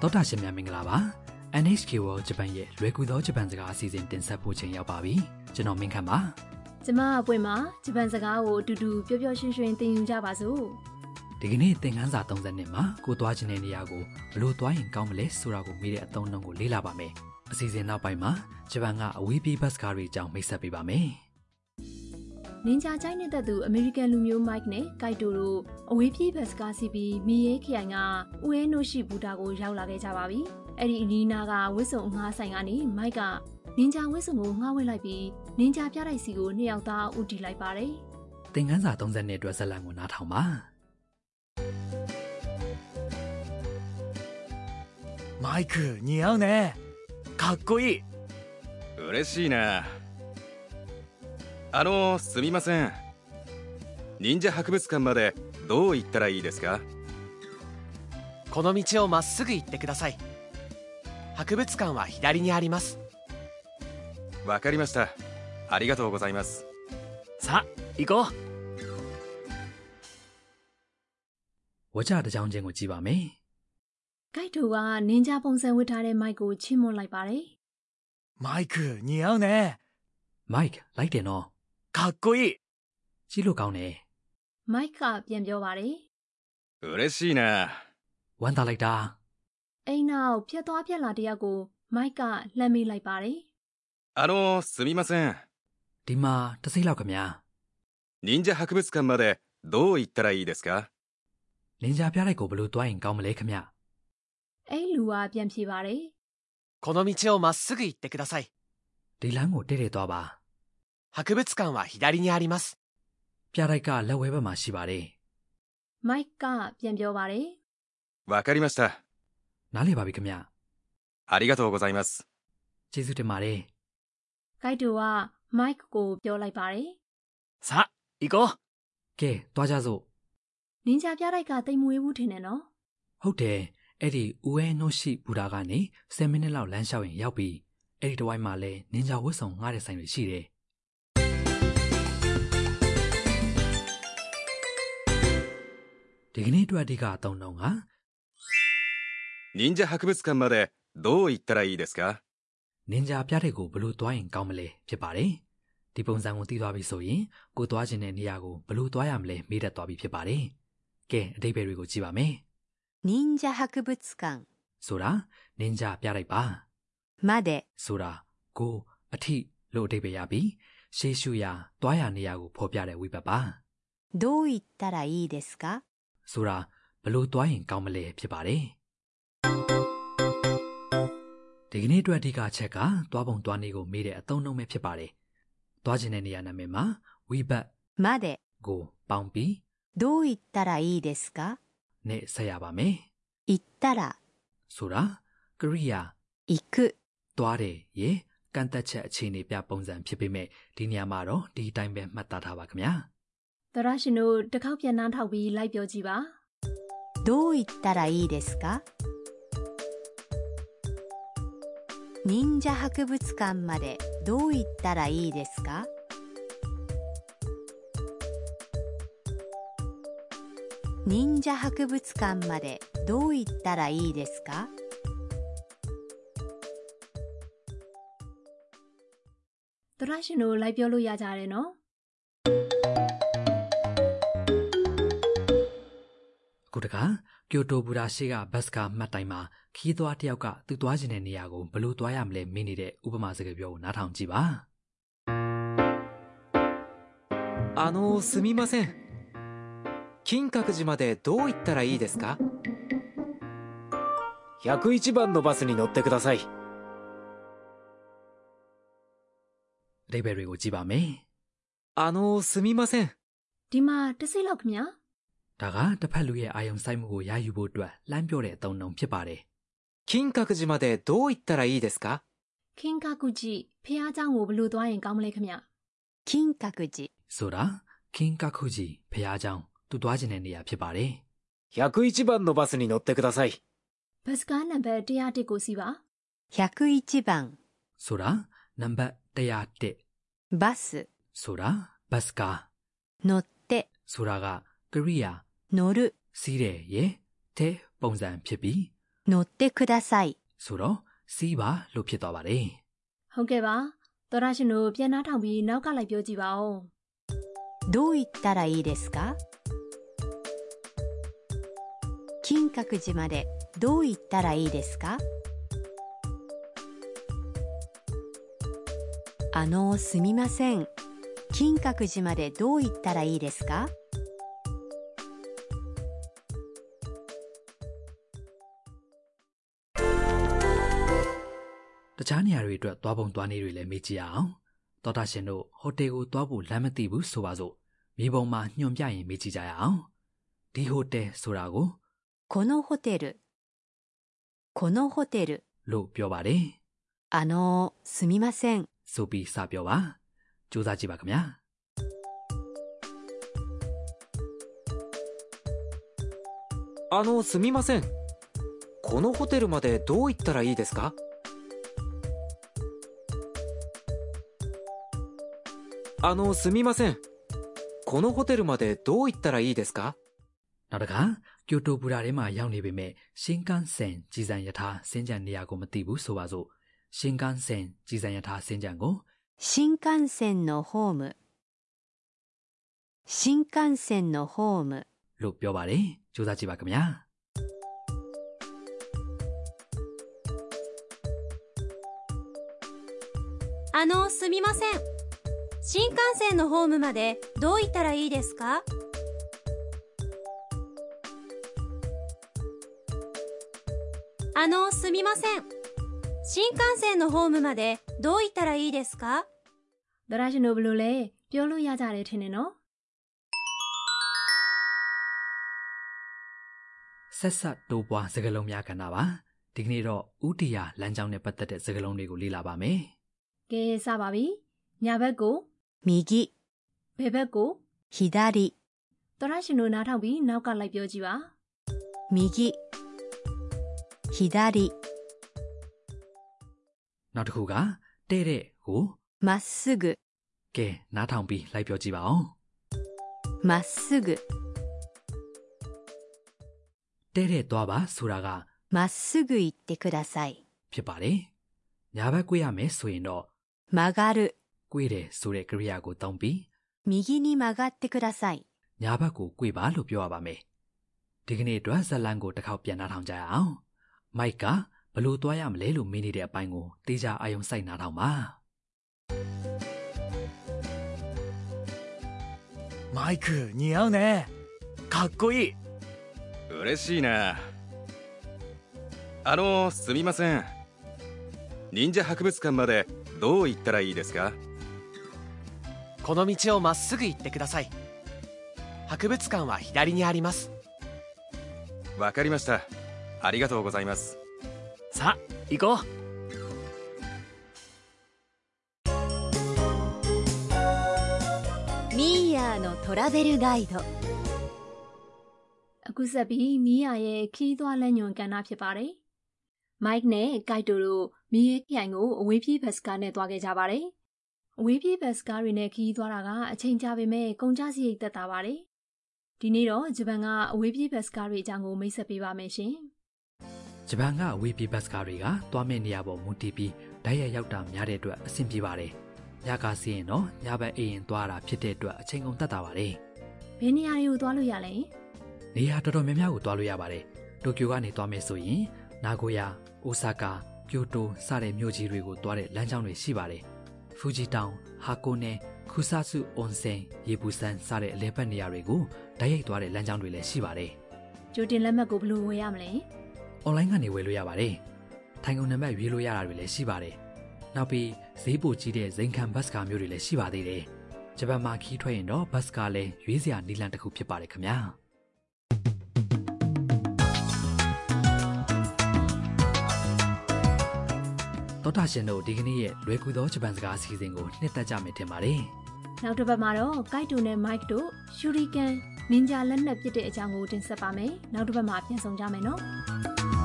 တောတာရှင်များမင်္ဂလာပါ NHK World Japan ရဲ့လွယ်ကူသောဂျပန်စကားအစီအစဉ်တင်ဆက်ဖို့ချိန်ရောက်ပါပြီကျွန်တော်မင်းခမ်းပါ ကျမအပွင့်မှာဂျပန်စကားကိုအတူတူပျော်ပျော်ရွှင်ရွှင်သင်ယူကြပါစို့ ဒီကနေ့သင်ခန်းစာ30နှစ်မှာကိုသွားခြင်းတဲ့နေရာကိုဘလို့သွားရင်ကောင်းမလဲဆိုတာကိုမေးတဲ့အသုံးအနှုန်းကိုလေ့လာပါမယ်အစီအစဉ်နောက်ပိုင်းမှာဂျပန်ကအဝေးပြေးဘတ်စကားတွေအကြောင်းမိတ်ဆက်ပေးပါမယ် နင်ဂျာကျိုင်းနေတဲ့သူအမေရိကန်လူမျိုးမိုက်နဲ့ကိုက်တိုတို့အဝေးပြေးဘတ်စကားစီးပြီးမီရဲခရိုင်ကဥယျာဉ်တို့ရှိဘူတာကိုရောက်လာခဲ့ကြပါပြီအဲ့ဒီအနီးနားကဝစ်စုံအငှားဆိုင်ကနေမိုက်ကနင်ဂျာဝစ်စုံကိုငှားဝစ်လိုက်ပြီးနင်ဂျာပြတိုက်စီကိုနှစ်ယောက်သားဦးတည်လိုက်ပါတယ် သင်ခန်းစာ30နှစ်အတွက်ဇာတ်လမ်းကိုနားထောင်ပါ マイク似合うねかっこいい嬉しいなあのすみません忍者博物館までどう行ったらいいですかこの道をまっすぐ行ってください博物館は左にありますわかりましたありがとうございますさあ行こう ဝါကြတစ်ကြောင်းချင်းကိုကြည့်ပါမယ် ကိုက်တိုကနင်ဂျာပုံစံဝတ်ထားတဲ့မိုက်ကိုချီးမွမ်းလိုက်ပါတယ် マイク似合うね မိုက်လိုက်တယ်နော် かっこいい ကြည့်လို့ကောင်းတယ် မိုက်ကပြန်ပြောပါတယ် 嬉しいな ဝမ်းသာလိုက်တာ အိမ်နောက်ဖြတ်သွားဖြတ်လာတစ်ယောက်ကိုမိုက်ကလှမ်းမိလိုက်ပါတယ် あのすみません ဒီမှာတစ်စိမ့်လောက်ခင်ဗျာ 忍者博物館までどう行ったらいいですか လင်ဂျာပြတိုက်ကိုဘလို့သွားရင်ကောင်းမလဲခင်ဗျာ အဲ့လူကပြန်ဖြေပါတယ် この道をまっすぐ行ってください ဒီလမ်းကိုတည့်တည့်သွားပါ 博物館は左にあります ပြတိုက်ကလက်ဝဲဘက်မှာရှိပါတယ် ။မိုက်ကပြန်ပြောပါတယ် わかりました နားလည်ပါပြီခင်ဗျ ありがとうございます ကျေးဇူးတင်ပါတယ် ။ဂိုက်တိုကမိုက်ကိုပြောလိုက်ပါတယ် さあ行こう ကဲသွားကြစို့ ။နင်ဂျာပြတိုက်ကတိမ်မွေးဘူးထင်တယ်နော် ဟုတ်တယ်အဲ့ဒီဦးဝဲနို့ရှိဘူတာကနေ10မိနစ်လောက်လမ်းလျှောက်ရင်ရောက်ပြီအဲ့ဒီတစ်ဝိုက်မှာလဲနင်ဂျာဝတ်ဆောင်ငှားတဲ့ဆိုင်တွေရှိတယ်ဒီကနေ့အတွက်အဓိကအသုံးတော့က 忍者博物館までどう行ったらいいですか နင်ဂျာပြတိုက်ကိုဘလို့သွားရင်ကောင်းမလဲဖြစ်ပါတယ်ဒီပုံစံကိုသိသွားပြီဆိုရင်ကိုသွားခြင်းတဲ့နေရာကိုဘလို့သွားရမလဲမေးတတ်သွားပြီဖြစ်ပါတယ်ကဲအတိတ်ဘယ်တွေကိုကြည့်ပါမယ် 忍者博物館 ဆိုတာနင်ဂျာပြလိုက်ပါ まで ဆိုတာကိုအထိလို့အဓိပ္ပာယ်ရပြီးရှေးရှုရာတွားရနေရာကိုဖော်ပြတဲ့ဝိပတ်ပါ どう言ったらいいですか ဆိုတာဘလို့တွားရင်ကောင်းမလဲဖြစ်ပါတယ်ဒီကနေ့အတွက်အဓိကအချက်ကတွားပုံတွားနေကိုမေးတဲ့အသုံးအနှုန်းပဲဖြစ်ပါတယ်တွားခြင်းတဲ့နေရာနာမည်မှာဝိပတ် まで ကိုပေါင်းပြီး どう言ったらいいですか နဲ့ဆက်ရပါမယ် 言ったら ဆိုတာကရိယာ 行く သွားတယ်ရေကန့်သက်ချက်အခြေအနေပြပုံစံဖြစ်ပေမဲ့ဒီနေရာမှာတော့ဒီအတိုင်းပဲမှတ်သားထားပါခင်ဗျာ ။သရရှင်တို့တစ်ခေါက်ပြန်နှောင်းထောက်ပြီးလိုက်ပြောကြည့်ပါ どう言ったらいいですか忍者博物館までどう言ったらいいですか忍者博物館までどう言ったらいいですか ။သရရှင်တို့လိုက်ပြောလို့ရကြတယ်နော် အခုတခါကီယိုတိုဘူရာရှိကဘတ်စကာမှတ်တိုင်မှာခီးသွားတစ်ယောက်ကသူ့သွားခြင်းတဲ့နေရာကိုဘယ်လို့သွားရမလဲမင်းနေတဲ့ဥပမာစကားပြောကိုနားထောင်ကြည့်ပါ あのすみません金閣寺までどう行ったらいいですか101番のバスに乗ってください အဓိပ္ပာယ်တွေကိုကြည့်ပါမယ် あのすみません ။ဒီမှာတစ်စိတ်လောက်ခင်ဗျာ ဒါကတစ်ဖက်လူရဲ့အာယုံစိုက်မှုကိုရယူဖို့အတွက်လှမ်းပြောတဲ့အသုံးအနှုန်းဖြစ်ပါတယ် 金閣寺までどう行ったらいいですか ။ခင်ကကူကြီးဖះเจ้าကိုဘယ်လို့သွားရင်ကောင်းမလဲခင်ဗျာ 金閣寺 ဆိုတာခင်းကခုကြီးဖះเจ้าသူ့သွားခြင်းတဲ့နေရာဖြစ်ပါတယ် 101番のバスに乗ってください ။ဘတ်စကားနံပါတ်101ကိုစီးပါ 101番 ဆိုတာနံပါတ်101バス ဆိုတာဘတ်စကာ 乗って ဆိုတာကကရိယာ 乗る စီးတယ်ရေတဲ့ပုံစံဖြစ်ပြီး 乗ってください。 ဆိုတော့စီးပါလို့ဖြစ်သွားပါတယ် ဟုတ်ကဲ့ပါသောရရှင်တို့ပြန်နှားထောင်ပြီးနောက်ကလိုက်ပြောကြည့်ပါဦး どう言ったらいいですか金閣寺までどう言ったらいいですかあのすみません金閣寺までどう言ったらいいですか တခြားနေရာတွေအတွက်သွားပုံသွားနည်းတွေလည်းမေ့ကြည့်ရအောင်တော်တာရှင်တို့ဟိုတယ်ကိုသွားဖို့လမ်းမသိဘူးဆိုပါစို့မိဘုံမှာညွှန်ပြရင်မေ့ကြည့်ကြရအောင်ဒီဟိုတယ်ဆိုတာကို このホテルこのホテル လို့ပြောပါတယ် あのすみません ဆိုပြီးစပြောပါစူးစမ်းကြည့်ပါခင်ဗျာ あのすみませんこのホテルまでどう行ったらいいですかあのすみませんこのホテルまでどう行ったらいいですか နောက်တစ်ခါကျိုတိုဘူတာထဲမှာရောက်နေပေမဲ့ရှင်းကန်ဆန်ကြည်စံယထာစင်ကြံနေရာကိုမသိဘူးဆိုပါစို့ရှင်းကန်ဆန်ကြည်စံယထာစင်ကြံကို 新幹線のホーム新幹線のホーム လို့ပြောပါတယ်စူးစမ်းကြည့်ပါခင်ဗျာ あのすみません新幹線のホームまでどう行ったらいいですかあのすみません新幹線のホームまでどう行ったらいいですか သောရရှင်တို့ဘယ်လို့လဲပြောလို့ရကြတယ်ထင်တယ်နော် ဆက်ဆက်တိုးပွားစကားလုံးများကဏ္ဍပါဒီကနေ့တော့ဥတီယာလမ်းကြောင်းနဲ့ပတ်သက်တဲ့စကားလုံးတွေကိုလေ့လာပါမယ် ကဲစပါပြီညာဘက်ကို 右 ဘယ်ဘက်ကို 左 သောရရှင်တို့နားထောင်ပြီးနောက်ကလိုက်ပြောကြည့်ပါ 右左 နောက်တစ်ခုကတဲ့တဲ့ကို まっすぐ ကဲနားထောင်ပြီးလိုက်ပြောကြည့်ပါအောင် まっすぐ တဲ့တဲ့သွားပါဆိုတာက まっすぐ行ってください ဖြစ်ပါတယ်ညာဘက်ကိုရမယ်ဆိုရင်တော့ 曲がる ကိုရတယ်ဆိုတဲ့ကရိယာကိုတောင်းပြီး 右に曲がってください ညာဘက်ကို꿰ပါလို့ပြောရပါမယ်။ဒီကနေ့အတွက်ဇတ်လန်ကိုတစ်ခေါက်ပြန်နှားထောင်ကြရအောင်။မိုက်ကဘလို့သွားရမလဲလို့မေးနေတဲ့အပိုင်းကိုတေချာအာယုံစိုက်နှားထောင်ပါ マイク似合うねかっこいい嬉しいなあのすみません忍者博物館までどう行ったらいいですかこの道をまっすぐ行ってください博物館は左にありますわかりましたありがとうございますさあ行こうミーヤーのトラベルガイド အခုဆက်ပြီးမီးရရဲ့ခီးသွွားလက်ညွန်ကဏ္ဍဖြစ်ပါတယ်မိုက်နဲ့ကိုက်တိုတို့မီးရဲ့ခရိုင်ကိုအဝေးပြေးဘတ်စကားနဲ့သွားခဲ့ကြပါတယ်အဝေးပြေးဘတ်စကားတွေနဲ့ခီးသွွားတာကအချိန်ကြာပေမဲ့ကုန်ကျစရိတ်သက်သာပါတယ်ဒီနေ့တော့ဂျပန်ကအဝေးပြေးဘတ်စကားတွေအကြောင်းကိုမိတ်ဆက်ပေးပါမယ်ရှင် ။ဂျပန်ကအဝေးပြေးဘတ်စကားတွေကသွားမယ့်နေရာပေါ်မူတည်ပြီးဓာတ်ရိုက်ရောက်တာများတဲ့အတွက်အဆင်ပြေပါတယ်။ညကစီးရင်တော့ညဘက်အေးရင်သွားတာဖြစ်တဲ့အတွက်အချိန်ကုန်တတ်တာပါတယ် ဘယ်နေရာတွေကိုသွားလို့ရလဲ ။နေရာတော်တော်များများကိုသွားလို့ရပါတယ်။တိုကျိုကနေသွားမယ်ဆိုရင်နာဂိုယာ၊အိုဆာကာ၊ကျိုတိုစတဲ့မြို့ကြီးတွေကိုသွားတဲ့လမ်းကြောင်းတွေရှိပါတယ်။ Fuji Town, Hakone, Kusatsu Onsen, Yebusan စတဲ့အလဲပတ်နေရာတွေကိုဓာတ်ရိုက်သွားတဲ့လမ်းကြောင်းတွေလည်းရှိပါတယ်။ ဂျိုတင်လက်မှတ်ကိုဘယ်လိုဝယ်ရမလဲ အွန်လိုင်းကနေဝယ်လို့ရပါတယ်။ထိုင်ကုန်နံပါတ်ရွေးလို့ရတာတွေလည်းရှိပါတယ်။နောက်ပြီးဈေးပိုကြီးတဲ့ဇိမ်ခံဘတ်စကာမျိုးတွေလည်းရှိပါသေးတယ်။ဂျပန်မှာခီးထွက်ရင်တော့ဘတ်စကာလည်းရွေးစရာနည်းလမ်းတစ်ခုဖြစ်ပါတယ်ခင်ဗျာ။တော်တာရှင်တို့ဒီကနေ့ရဲ့လွယ်ကူသောဂျပန်စကားအစီအစဉ်ကိုနှစ်သက်ကြမယ်ထင်ပါတယ် နောက်တစ်ပတ်မှာတော့ကိုက်တိုနဲ့မိုက်တို့ရှူရီကန်နင်ဂျာလက်နက်ပစ်တဲ့အကြောင်းကိုတင်ဆက်ပါမယ်နောက်တစ်ပတ်မှာပြန်ဆောင်ကြမယ်နော် ။